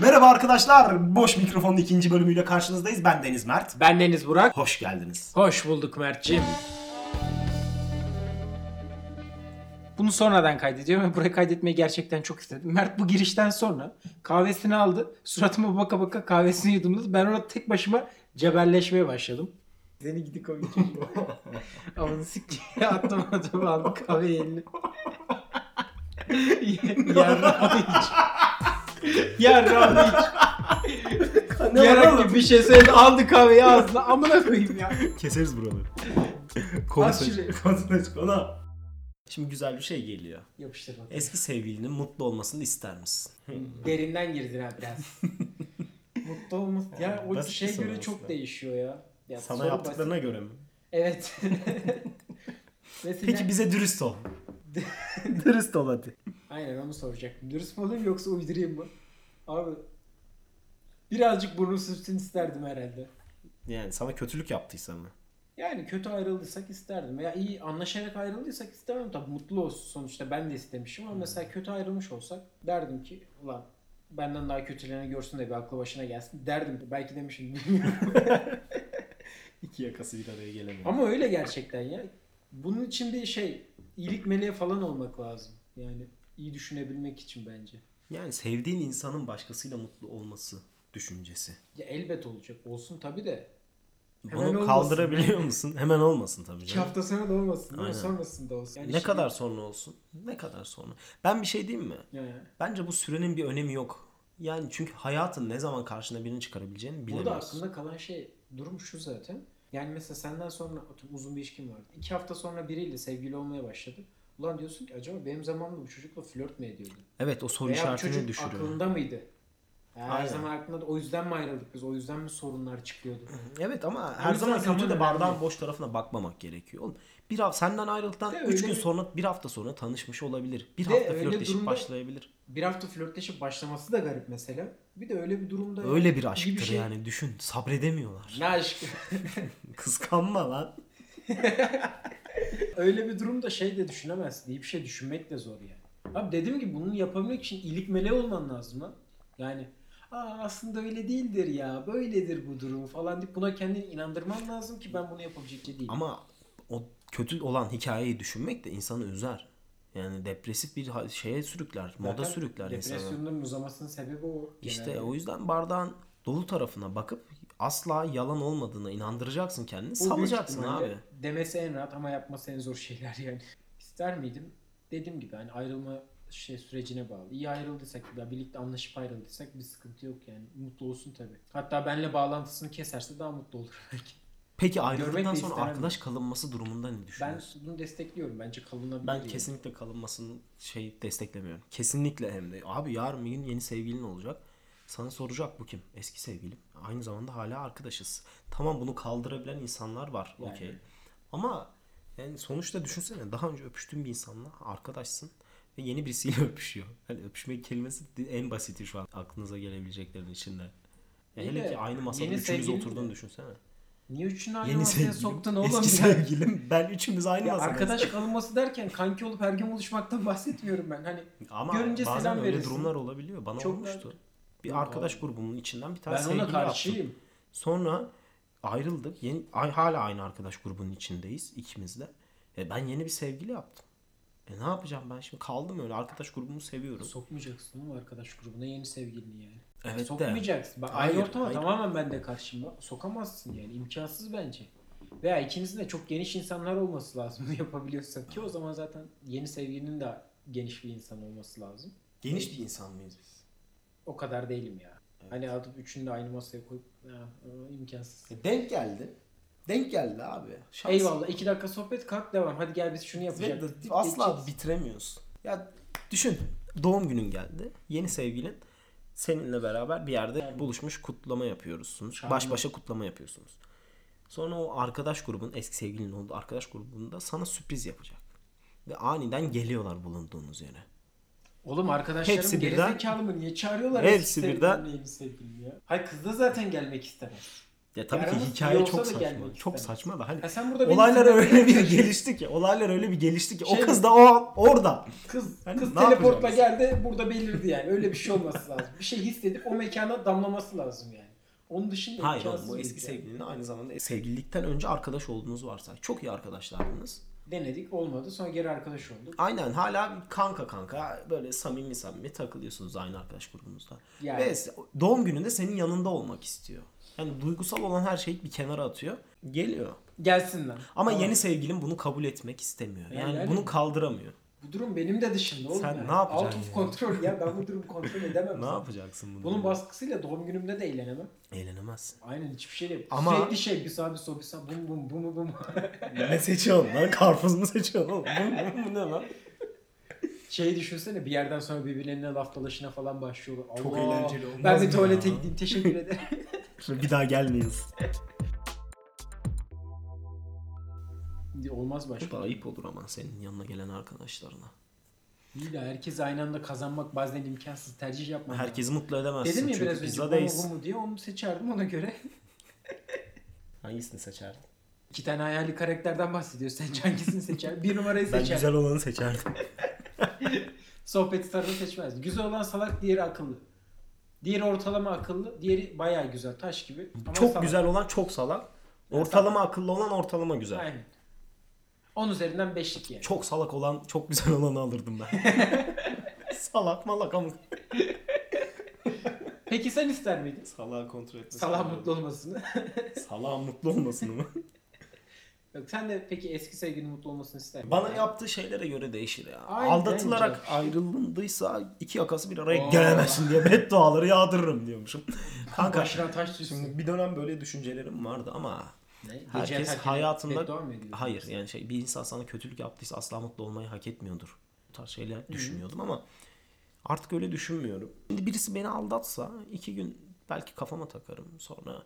Merhaba arkadaşlar. Boş mikrofonun ikinci bölümüyle karşınızdayız. Ben Deniz Mert. Ben Deniz Burak. Hoş geldiniz. Hoş bulduk Mert'ciğim. Bunu sonradan kaydediyorum ve buraya kaydetmeyi gerçekten çok istedim. Mert bu girişten sonra kahvesini aldı. Suratıma baka baka kahvesini yudumladı. Ben orada tek başıma cebelleşmeye başladım. Seni gidi komik çocuğu. Amanı sik diye attım adamı aldım kahveyi eline. Yarrağını iç. Yarrağını iç. Yarak gibi bir şey söyledi aldı kahveyi ağzına amına koyayım ya. Keseriz buraları. Aç şuraya. konu. Şimdi güzel bir şey geliyor. Yapıştır bak. Eski sevgilinin mutlu olmasını ister misin? Derinden girdin ha biraz. Mutlu olması. Ya o Basit bir şeye soru göre aslında. çok değişiyor ya. ya Sana soru yaptıklarına basit. göre mi? Evet. Mesela... Peki bize dürüst ol. dürüst ol hadi. Aynen onu soracaktım. Dürüst mü olayım yoksa uydurayım mı? Abi birazcık burnu sürtsün isterdim herhalde. Yani sana kötülük yaptıysa mı? Yani kötü ayrıldıysak isterdim. Veya iyi anlaşarak ayrıldıysak istemem tabii. Mutlu olsun sonuçta ben de istemişim ama Hmm. mesela kötü ayrılmış olsak derdim ki ulan benden daha kötülerini görsün de bir aklı başına gelsin derdim. Belki demişim bilmiyorum. İki yakası bir araya gelemiyor. ama öyle gerçekten ya. Bunun için bir şey iyilik meleği falan olmak lazım. Yani iyi düşünebilmek için bence. Yani sevdiğin insanın başkasıyla mutlu olması düşüncesi. Ya elbet olacak. Olsun tabii de. Hemen Bunu olmasın. kaldırabiliyor musun? Hemen olmasın tabii İki canım. hafta sonra da olmasın değil mi? Aynen. Sonrasında olsun. Yani Ne şimdi- kadar sonra olsun? Ne kadar sonra? Ben bir şey diyeyim mi? Ya. Bence bu sürenin bir önemi yok. Yani çünkü hayatın ne zaman karşına birini çıkarabileceğini Burada bilemiyorsun. aklımda kalan şey durum şu zaten. Yani mesela senden sonra atıyorum uzun bir ilişkin vardı. İki hafta sonra biriyle sevgili olmaya başladı. Ulan diyorsun ki acaba benim zamanımda bu çocukla flört mü ediyordu? Evet o soru Veya bu işaretini çocuk düşürüyor. aklında mıydı? Her Aynen. zaman aklında da o yüzden mi ayrıldık biz? O yüzden mi sorunlar çıkıyordu? Evet ama O her yüzden zaman zaman kötü de önemli. bardağın boş tarafına bakmamak gerekiyor. Oğlum, bir hafta senden ayrıldıktan De 3 öyle gün bir- sonra bir hafta sonra tanışmış olabilir. Bir De hafta öyle flörtleşip durumda- başlayabilir. Bir hafta flörtleşip başlaması da garip mesela. Bir de öyle bir durumda... Öyle bir gibi aşktır şey- yani düşün sabredemiyorlar. Ne aşk? Kıskanma lan. öyle bir durumda şey de düşünemezsin. İyi bir şey düşünmek de zor yani. Abi dediğim gibi bunu yapabilmek için iyilik meleği olman lazım lan. Yani Aa, aslında öyle değildir ya, böyledir bu durum falan deyip buna kendini inandırman lazım ki ben bunu yapabilecek değilim. Ama o kötü olan hikayeyi düşünmek de insanı üzer. Yani depresif bir ha- şeye sürükler, moda Zaten sürükler insanı. Depresyonların uzamasının sebebi o. İşte genelde. o yüzden bardağın dolu tarafına bakıp asla yalan olmadığına inandıracaksın kendini. Bu büyük Salacaksın ihtimalle abi. Demesi en rahat ama yapması en zor şeyler yani. İster miydim? Dediğim gibi hani ayrılma şey sürecine bağlı. İyi ayrıldıysak ya birlikte anlaşıp ayrıldıysak bir sıkıntı yok yani. Mutlu olsun tabii. Hatta benle bağlantısını keserse daha mutlu olur belki. Peki Görmek ayrıldıktan de sonra istemem. arkadaş kalınması durumunda ne Ben düşünüyorsun? bunu destekliyorum. Bence kalınabilir. Ben, yani. kesinlikle kalınmasını şey desteklemiyorum. Kesinlikle hem de. Abi yarın bir gün yeni sevgilin olacak. Sana soracak bu kim? Eski sevgilim. Aynı zamanda hala arkadaşız. Tamam bunu kaldırabilen insanlar var. Yani. Okey. Ama yani sonuçta düşünsene daha önce öpüştüğün bir insanla arkadaşsın ve yeni birisiyle öpüşüyor. Hani öpüşme kelimesi en basiti şu an aklınıza gelebileceklerin içinde. Ya İyi hele de ki aynı masada yeni üçümüz sevgilin oturduğunu de- düşünsene. Niye üçünü aynı Yeni masaya sevgilim, soktun oğlum? eski ya? sevgilim. Ben üçümüz aynı Ya masada. arkadaş kalınması derken kanki olup her gün buluşmaktan bahsetmiyorum ben. Hani Ama görünce bazen selam öyle verirsin. durumlar olabiliyor. Bana Çok olmuştu. nadir. Bir Yok arkadaş grubumun içinden bir tane ben ona sevgili yaptım. karşıyım. Sonra ayrıldık. Yeni, ay- hala aynı arkadaş grubunun içindeyiz ikimiz de. E ben yeni bir sevgili yaptım. E ne yapacağım ben şimdi? Kaldım öyle. Arkadaş grubumu seviyorum. Sokmayacaksın oğlum arkadaş grubuna yeni sevgilini yani. Evet de. Sokmayacaksın. Bak, Hayır, aynı ortama hayır. tamamen ben de karşıyım. Bak, Sokamazsın yani. imkansız bence. Veya ikinizin de çok geniş insanlar olması lazım bunu yapabiliyorsan. Ki o zaman zaten yeni sevgilinin de geniş bir insan olması lazım. Geniş bir insan mıyız biz? O kadar değilim ya. Hani alıp üçünü de aynı masaya koyup ya, aa, imkansız. E denk geldi. Denk geldi abi. Şans. Eyvallah. iki dakika sohbet kalk devam. Hadi gel biz şunu Ve yapacağız. de- asla bitiremiyorsun. Ya düşün doğum günün geldi. Yeni sevgilin seninle beraber bir yerde buluşmuş kutlama yapıyorsunuz. Şahane. Baş başa kutlama yapıyorsunuz. Sonra o arkadaş grubun eski sevgilinin olduğu arkadaş grubunda sana sürpriz yapacak. Ve aniden geliyorlar bulunduğunuz yere. Oğlum arkadaşlarım Hepsi Hepsi birden- gerizekalı mı? Niye çağırıyorlar? Hepsi eski sevgilimle birden- yeni sevgilim ya? Hayır kız da zaten gelmek istemez. Ya tabii ki Yaramaz hikaye yoksa çok da saçma. gelmek Çok istemem. saçma da hani Ya sen burada beni olaylar sinirlendirmeye öyle bir çalışıyorsun. gelişti ki. Olaylar öyle bir gelişti ki. Şey- o kız da o an orada. Kız, Hani ne kız teleportla yapacağız? geldi burada belirdi yani. Öyle bir şey olması lazım. Bir şey hissedip o mekana damlaması lazım yani. Onun dışında Hayır oğlum imkansız bu bir eski hikaye. sevgilinin aynı zamanda sevgililikten önce arkadaş olduğunuz varsa. Çok iyi arkadaşlardınız. Denedik olmadı. Sonra geri arkadaş olduk. Aynen hala kanka kanka böyle samimi samimi takılıyorsunuz aynı arkadaş grubunuzda. Yani. Ve doğum gününde senin yanında olmak istiyor. Yani duygusal olan her şeyi bir kenara atıyor. Geliyor. Gelsin lan. Ama Tamam. yeni sevgilin bunu kabul etmek istemiyor. Yani, Yani- bunu kaldıramıyor. Bu durum benim de dışımda oğlum. Sen yani. ne yapacaksın Out of ya? control ya. Ben bu durumu kontrol edemem. Ne zaten. yapacaksın bunu? Bunun baskısıyla doğum günümde de eğlenemem. Eğlenemezsin. Aynen hiçbir şey yok. Ama- Sürekli şey bir sağ bir sol bir sağ bum bum bum bum. ne seçiyorsun lan? Karpuz mu seçiyorsun oğlum? Bu, bu- bu ne lan? şey düşünsene bir yerden sonra birbirlerine laf dalaşına falan başlıyorlar. Allah, Çok eğlenceli olmaz Ben mı bir tuvalete ya? gideyim teşekkür ederim. Bir daha gelmeyiz. Olmaz başka. Çok da ayıp olur ama senin yanına gelen arkadaşlarına. İyi de herkes aynı anda kazanmak bazen imkansız tercih yapmak. Herkesi mutlu edemezsin. Dedim ya çünkü biraz önce bu mu bu pizzadayız. mu diye onu seçerdim ona göre. Hangisini seçerdin? İki tane hayali karakterden bahsediyor. Sence hangisini seçer? Bir numarayı Ben seçer. güzel olanı seçerdim. Sohbet starını seçmez. Güzel olan salak, diğeri akıllı. Diğeri ortalama akıllı, diğeri bayağı güzel, taş gibi. Ama çok salak. güzel olan çok salak. Ortalama akıllı olan ortalama güzel. Aynen. 10 üzerinden 5'lik yani. Çok salak olan çok güzel olanı alırdım ben. salak malak ama. Peki sen ister miydin? Salak kontrol etmesi. Salak mutlu olmasını. Salak mutlu olmasın mı? Yok, sen de peki eski sevgilinin mutlu olmasını ister miydin? Bana yaptığı şeylere göre değişir ya. Aynen Aldatılarak canım. ayrılındıysa iki yakası bir araya Oo. gelemezsin diye bedduaları yağdırırım diyormuşum. Kanka Başına taş düşsün. şimdi bir dönem böyle düşüncelerim vardı ama Ne? Gece herkes yatarken beddua hayatında mı ediyorsun? hayır yani şey bir insan sana kötülük yaptıysa asla mutlu olmayı hak etmiyordur. Bu tarz şeyler düşünüyordum ama artık öyle düşünmüyorum. Şimdi birisi beni aldatsa iki gün belki kafama takarım sonra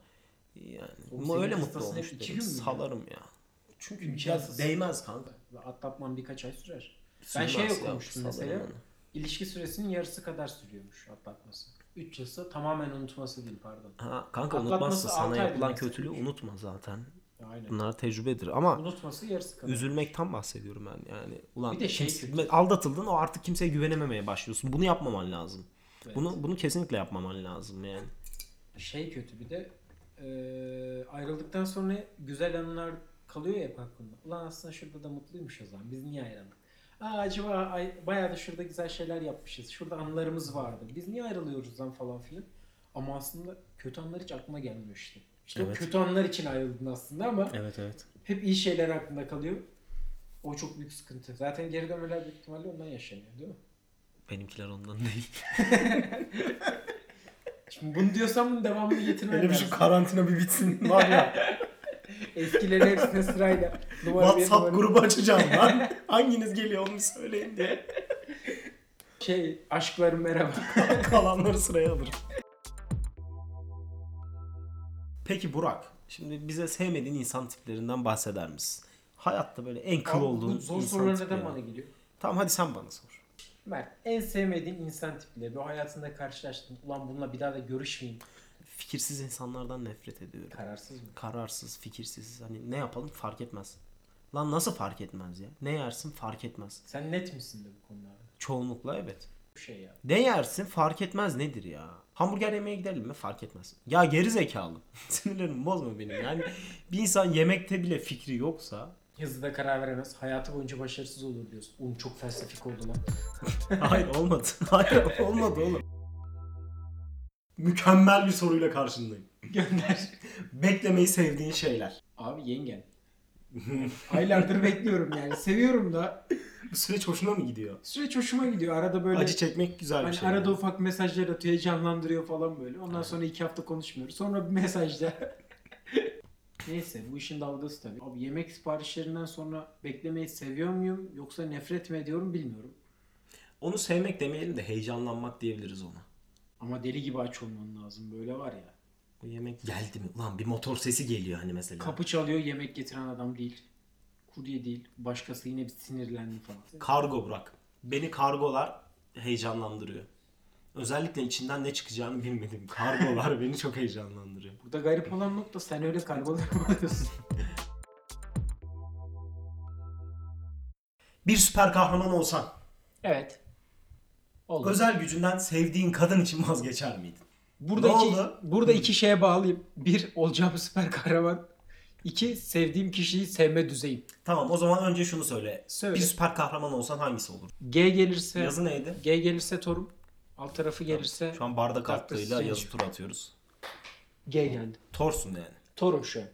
yani Oğlum ama senin öyle mutlu kıstasın hep olmuş iki derim. gün mü ya? Salarım ya. Çünkü İmkansız. değmez kanka. Atlatman birkaç ay sürer. Sürmez ben ya, şey okumuştum salarım mesela. onu. İlişki süresinin yarısı kadar sürüyormuş atlatması. 3 yılsa tamamen unutması değil pardon. Ha, kanka Atlatması unutmazsın. Sana altı aydır yapılan mesela. kötülüğü unutma zaten. Aynen. Bunlar tecrübedir ama Unutması yarısı kadar. üzülmekten bahsediyorum ben yani. Ulan Bir de şey kimse- kötü. aldatıldın o artık kimseye güvenememeye başlıyorsun. Bunu yapmaman lazım. Evet. Bunu bunu kesinlikle yapmaman lazım yani. Şey kötü bir de e, ayrıldıktan sonra güzel anılar kalıyor ya hep aklında. Ulan aslında şurada da mutluymuşuz o zaman. Biz niye ayrıldık? Aa acaba ay, bayağı da şurada güzel şeyler yapmışız. Şurada anılarımız vardı. Biz niye ayrılıyoruz lan falan filan. Ama aslında kötü anlar hiç aklıma gelmiyor işte. İşte Evet. o kötü anlar için ayrıldın aslında ama Evet evet. hep iyi şeyler aklında kalıyor. O çok büyük sıkıntı. Zaten geri dönmeler büyük ihtimalle ondan yaşanıyor değil mi? Benimkiler ondan değil. Şimdi bunu diyorsam bunun devamını getirmem lazım. karantina bir bitsin var ya. Eskilerin hepsine sırayla numara bir, numara- şey- grubu açacağım lan. Hanginiz geliyor onu söyleyin diye. Şey aşklarım merhaba. Kalanları sıraya alırım. Peki Burak, şimdi bize sevmediğin insan tiplerinden bahseder misin? Hayatta böyle en kıl Abi bu olduğun Zor insan sorular tipleri. neden bana geliyor? Tamam hadi sen bana sor. Mert en sevmediğin insan tipleri ve hayatında karşılaştın. Ulan bununla bir daha da görüşmeyeyim. Fikirsiz insanlardan nefret ediyorum. Kararsız mı? Kararsız, fikirsiz. Hani ne yapalım fark etmez. Lan nasıl fark etmez ya? Ne yersin fark etmez. Sen net misin de bu konularda? Çoğunlukla evet. Bu şey ya. Ne yersin fark etmez nedir ya? Hamburger yemeye gidelim mi fark etmez. Ya geri zekalı. Sinirlerimi bozma benim. Yani bir insan yemekte bile fikri yoksa Hızlı da karar veremez. Hayatı boyunca başarısız olur diyorsun. Oğlum çok felsefik oldu lan. Hayır olmadı. Hayır olmadı oğlum. Mükemmel bir soruyla karşındayım. Gönder. Beklemeyi sevdiğin şeyler. Abi yengen. Aylardır bekliyorum yani. Seviyorum da. Bu süreç hoşuna mı gidiyor? Süreç hoşuma gidiyor. Arada böyle Acı çekmek güzel bir hani şey. arada ufak mesajlar atıyor, heyecanlandırıyor falan böyle. Ondan sonra iki hafta konuşmuyoruz. Sonra bir mesajda. Neyse bu işin dalgası tabii. Abi yemek siparişlerinden sonra beklemeyi seviyor muyum yoksa nefret mi ediyorum bilmiyorum. Onu sevmek demeyelim de heyecanlanmak diyebiliriz ona. Ama deli gibi aç olman lazım böyle var ya. Bu yemek geldi mi? Ulan bir motor sesi geliyor hani mesela. Kapı çalıyor yemek getiren adam değil. Kurye değil. Başkası yine bir sinirlendi falan. Kargo bırak. Beni kargolar heyecanlandırıyor. Özellikle içinden ne çıkacağını bilmediğim kargolar beni çok heyecanlandırıyor. Burada garip olan nokta sen öyle kargolar mı alıyorsun? Bir süper kahraman olsan evet. Oldu. özel gücünden sevdiğin kadın için vazgeçer miydin? Buradaki, Ne oldu? burada iki şeye bağlıyım. Bir, olacağım süper kahraman. İki, sevdiğim kişiyi sevme düzeyim. Tamam o zaman önce şunu söyle. Söyle. Bir süper kahraman olsan hangisi olur? G gelirse Yazı neydi? G gelirse Torum. Alt tarafı gelirse Şu an bardak Doctor attığıyla Strange. yazı tur atıyoruz. G geldi. Torsun yani. Torum şu an.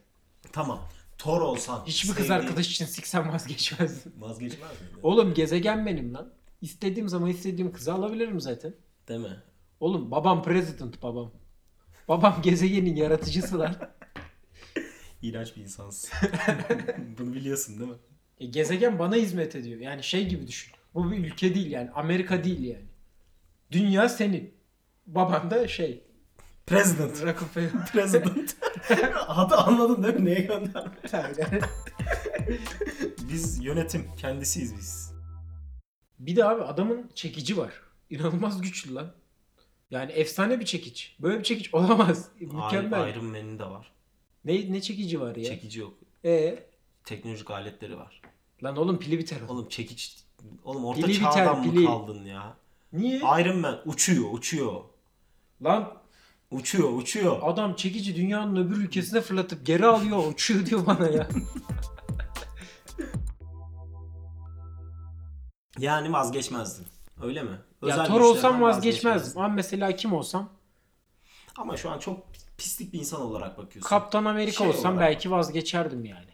Tamam. Tor olsan. Hiçbir kız sevdiğin- arkadaş için siksem vazgeçmezdim. Vazgeçmez miydin? Oğlum gezegen benim lan. İstediğim zaman istediğim kızı alabilirim zaten. Değil mi? Oğlum babam president babam. Babam gezegenin yaratıcısı lan. İğrenç bir insansın. Bunu biliyorsun değil mi? E, gezegen bana hizmet ediyor. Yani şey gibi düşün. Bu bir ülke değil yani. Amerika değil yani. Dünya senin. Baban da şey. President. Rockefeller. President. Adı anladın değil mi? Neye gönder? Biz yönetim. Kendisiyiz biz. bir de abi adamın çekici var. İnanılmaz güçlü lan. Yani efsane bir çekiç. Böyle bir çekiç olamaz. Mükemmel. Ay- Iron Man'in de var. Ne, ne çekici var ya? Çekici yok. Ee, Teknolojik aletleri var. lan oğlum pili biter o. Oğlum çekiç... Oğlum orta Pili biter, çağdan mı pili. kaldın ya? Niye? Iron Man uçuyor, uçuyor. Lan Uçuyor, uçuyor. adam çekici dünyanın öbür ülkesine fırlatıp geri alıyor uçuyor diyor bana ya. Yani vazgeçmezdin. Öyle mi? ya Özel Thor olsam güçlerden vazgeçmezdim. Ama mesela kim olsam? Ama şu an çok pislik bir insan olarak bakıyorsun. Kaptan Amerika Şey olsam olarak. belki vazgeçerdim yani.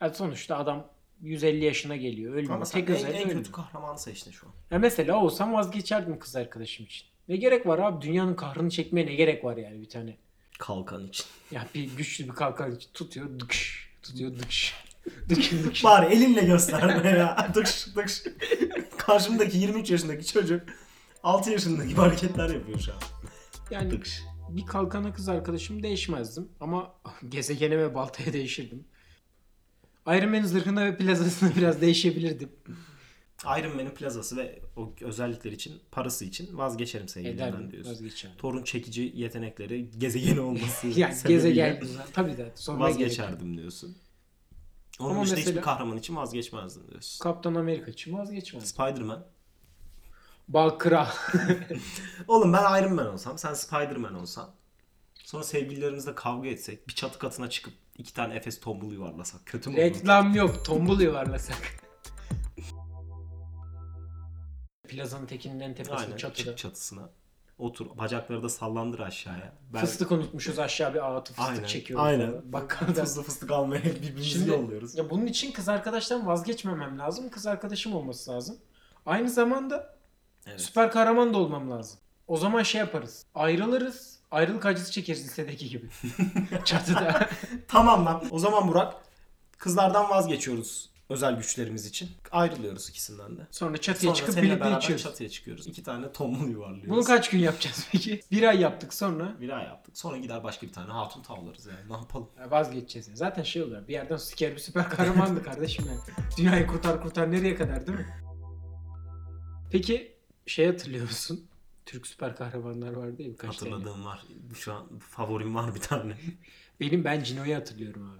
Ya sonuçta adam 150 yaşına geliyor. Ölmüyor. Ama sen Tek en, en özelliği ölmüyor. kötü kahramanı seçtin şu an. Ya mesela olsam vazgeçerdim kız arkadaşım için. Ne gerek var abi? Dünyanın kahrını çekmeye ne gerek var yani bir tane? Kalkan için. Ya bir güçlü bir kalkan için tutuyor dıkş. Tutuyor dıkş. Dıkş dıkş. Bari elinle gösterme ya. dıkş dıkş. Karşımdaki 23 yaşındaki çocuk 6 yaşındaki hareketler yapıyor şu an. Yani Dıkş. bir kalkana kız arkadaşım değişmezdim. Ama gezegene ve baltaya değişirdim. Iron Man zırhına ve plazasına biraz değişebilirdim. Iron Man'in plazası ve o özellikler için, parası için vazgeçerim sevgilimden Ederdim. diyorsun. Vazgeçerdim. Torun çekici yetenekleri gezegeni olması Yani sebebiyle gezegen tabii de sonra gerek yok. vazgeçerdim diyorsun. Onun Ama dışında mesela- hiçbir kahraman için vazgeçmezdim diyorsun. Kaptan Amerika için vazgeçmez. Spider-Man. Bal kral. Oğlum ben Iron Man olsam, sen Spider-Man olsan. Sonra sevgililerimizle kavga etsek, bir çatı katına çıkıp iki tane Efes tombul yuvarlasak. Kötü mü olur? Reklam yok. Tombul yuvarlasak. Plazanın tekinin en tepesinde Aynen, çatıda. çık çatısına. Otur, bacakları da sallandır aşağıya. Ben... Fıstık unutmuşuz aşağı bir ağatı fıstık Aynen, çekiyoruz. aynen. falan. Bakkaldan. Tuzlu fıstık almaya birbirimizi Şimdi yolluyoruz. ya bunun için kız arkadaştan vazgeçmemem lazım. Kız arkadaşım olması lazım. Aynı zamanda Evet. süper kahraman da olmam lazım. O zaman şey yaparız. Ayrılırız. Ayrılık acısı çekeriz lisedeki gibi. Çatıda. Tamam lan. O zaman Burak, kızlardan vazgeçiyoruz özel güçlerimiz için. Ayrılıyoruz ikisinden de. Sonra çatıya Sonra çıkıp seninle birlikte beraber içiyoruz. çatıya çıkıyoruz. İki tane tombul yuvarlıyoruz. Bunu kaç gün yapacağız peki? Bir ay yaptık sonra Bir ay yaptık. Sonra gider başka bir tane hatun tavlarız yani. Ne yapalım? vazgeçeceğiz. Zaten şey oluyor bir yerden siker bir süper kahramandı kardeşim yani. Dünyayı kurtar kurtar nereye kadar değil mi? Peki şey hatırlıyor musun? Türk süper kahramanlar vardı ya birkaç tane. Hatırladığım var. Şu an favorim var bir tane. Benim ben Cino'yu hatırlıyorum abi.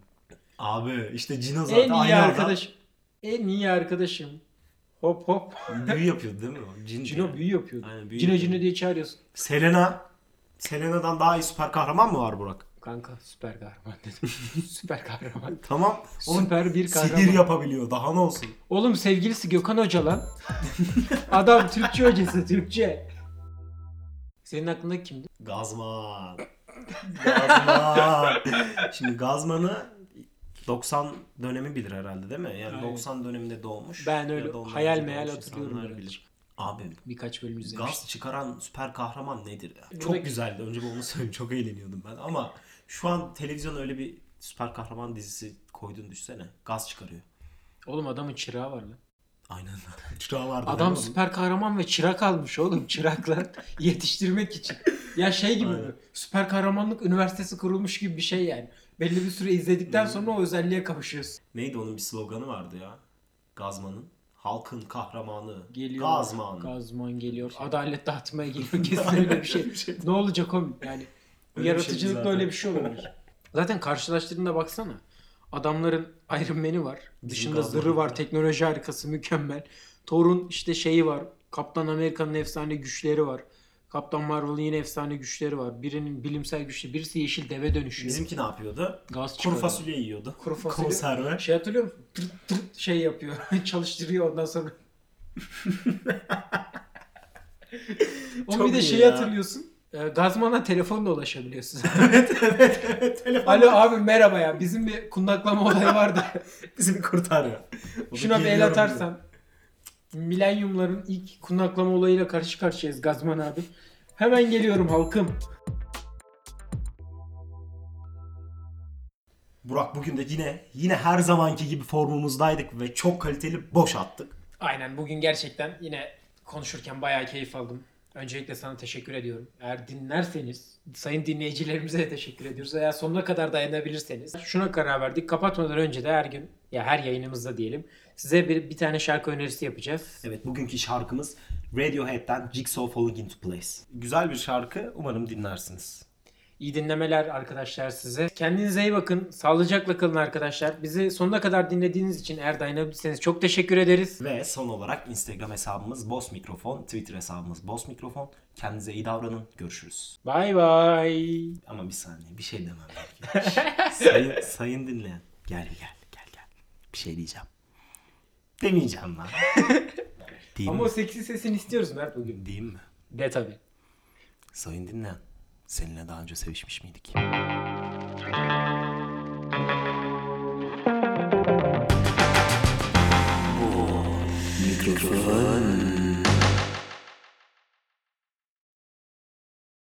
Abi işte Cino zaten en iyi aynı arkadaş. arkadaşım. En iyi arkadaşım. Hop hop. Büyü yapıyordu değil mi? o? Cin Cino büyü yapıyordu. Aynen, büyü Cino yapıyordu. Cino diye çağırıyorsun. Selena. Selena'dan daha iyi süper kahraman mı var Burak? Kanka süper kahraman dedim. süper kahraman. Tamam. Oğlum Süper bir kahraman. sihir yapabiliyor. Daha ne olsun? Oğlum sevgilisi Gökhan Hoca lan. Adam Türkçe hocası Türkçe. Senin aklında kimdi? Gazman. Gazman. Şimdi Gazman'ı 90 dönemi bilir herhalde değil mi? Yani Aynen. 90 döneminde doğmuş. Ben ya öyle da ondan hayal önce meyal doğmuş hatırlıyorum. şey. insanlar böyle. bilir. Abi Birkaç bölüm izlemiştim. Gaz çıkaran süper kahraman nedir? ya? Burada- Çok güzeldi. Önce bir onu söyleyeyim. Çok eğleniyordum ben. Ama şu an televizyon öyle bir süper kahraman dizisi koyduğunu düşünsene. Gaz çıkarıyor. Oğlum adamın çırağı var lan. Aynen. Çırağı vardı. değil mi Adam onun? süper kahraman ve çırak almış oğlum çıraklar yetiştirmek için. Ya şey gibi Aynen. bu, süper kahramanlık üniversitesi kurulmuş gibi bir şey yani. Belli bir süre izledikten sonra o özelliğe kavuşuyorsun. Neydi onun bir sloganı vardı ya. Gazman'ın. Halkın kahramanı. Geliyor. Gazman. Gazman geliyor. Adalet dağıtmaya geliyor. Kesin öyle bir şey. ne olacak oğlum? Yani bir şey yaratıcılıkla zaten. öyle bir şey olabilir. zaten karşılaştırdığında baksana. Adamların Iron Man'i var. Dışında Gazman zırhı var. yok. Teknoloji harikası mükemmel. Thor'un işte şeyi var. Kaptan Amerika'nın efsane güçleri var. Kaptan Marvel'ın yine efsane güçleri var. Birinin bilimsel güçleri. Birisi yeşil deve dönüşüyor. Bizimki ne yapıyordu? Gaz Kuru çıkarıyor. fasulye yiyordu. Kuru fasulye. Konserve. Şey hatırlıyor musun? Tırt tırt şey yapıyor. Çalıştırıyor ondan sonra. o Çok bir de iyi şeyi ya. hatırlıyorsun. Ee, Gazman'la telefonla ulaşabiliyorsun. evet evet evet. Telefon Alo abi merhaba ya. Bizim bir kundaklama olayı vardı. bizi kurtarıyor. Bunu Şuna bir el geliyorum atarsan. Milenyumların ilk kundaklama olayıyla karşı karşıyayız Gazman abi. Hemen geliyorum halkım. diyor. Burak bugün de yine yine her zamanki gibi formumuzdaydık ve çok kaliteli boş attık. Aynen bugün gerçekten yine konuşurken bayağı keyif aldım. Öncelikle sana teşekkür ediyorum. Eğer dinlerseniz sayın dinleyicilerimize de teşekkür ediyoruz. Eğer sonuna kadar dayanabilirseniz. Şuna karar verdik. Kapatmadan önce de her gün ya her yayınımızda diyelim size bir, bir tane şarkı önerisi yapacağız. Evet bugünkü şarkımız Radiohead'den Jigsaw Falling Into Place. Güzel bir şarkı. Umarım dinlersiniz. İyi dinlemeler arkadaşlar size. Kendinize iyi bakın. Sağlıcakla kalın arkadaşlar. Bizi sonuna kadar dinlediğiniz için eğer dayanabilirseniz çok teşekkür ederiz. Ve son olarak Instagram hesabımız Boss Mikrofon, Twitter hesabımız Boss Mikrofon. Kendinize iyi davranın. Görüşürüz. Bay bay. Ama bir saniye bir şey demem gerekiyor. sayın, sayın dinleyen. Gel gel gel gel. Bir şey diyeceğim. Demeyeceğim lan. Değil Ama mi? o seksi sesini istiyoruz Mert bugün. Değil mi? De tabii. Sayın dinleyen. Seninle daha önce sevişmiş miydik? Mikrofon.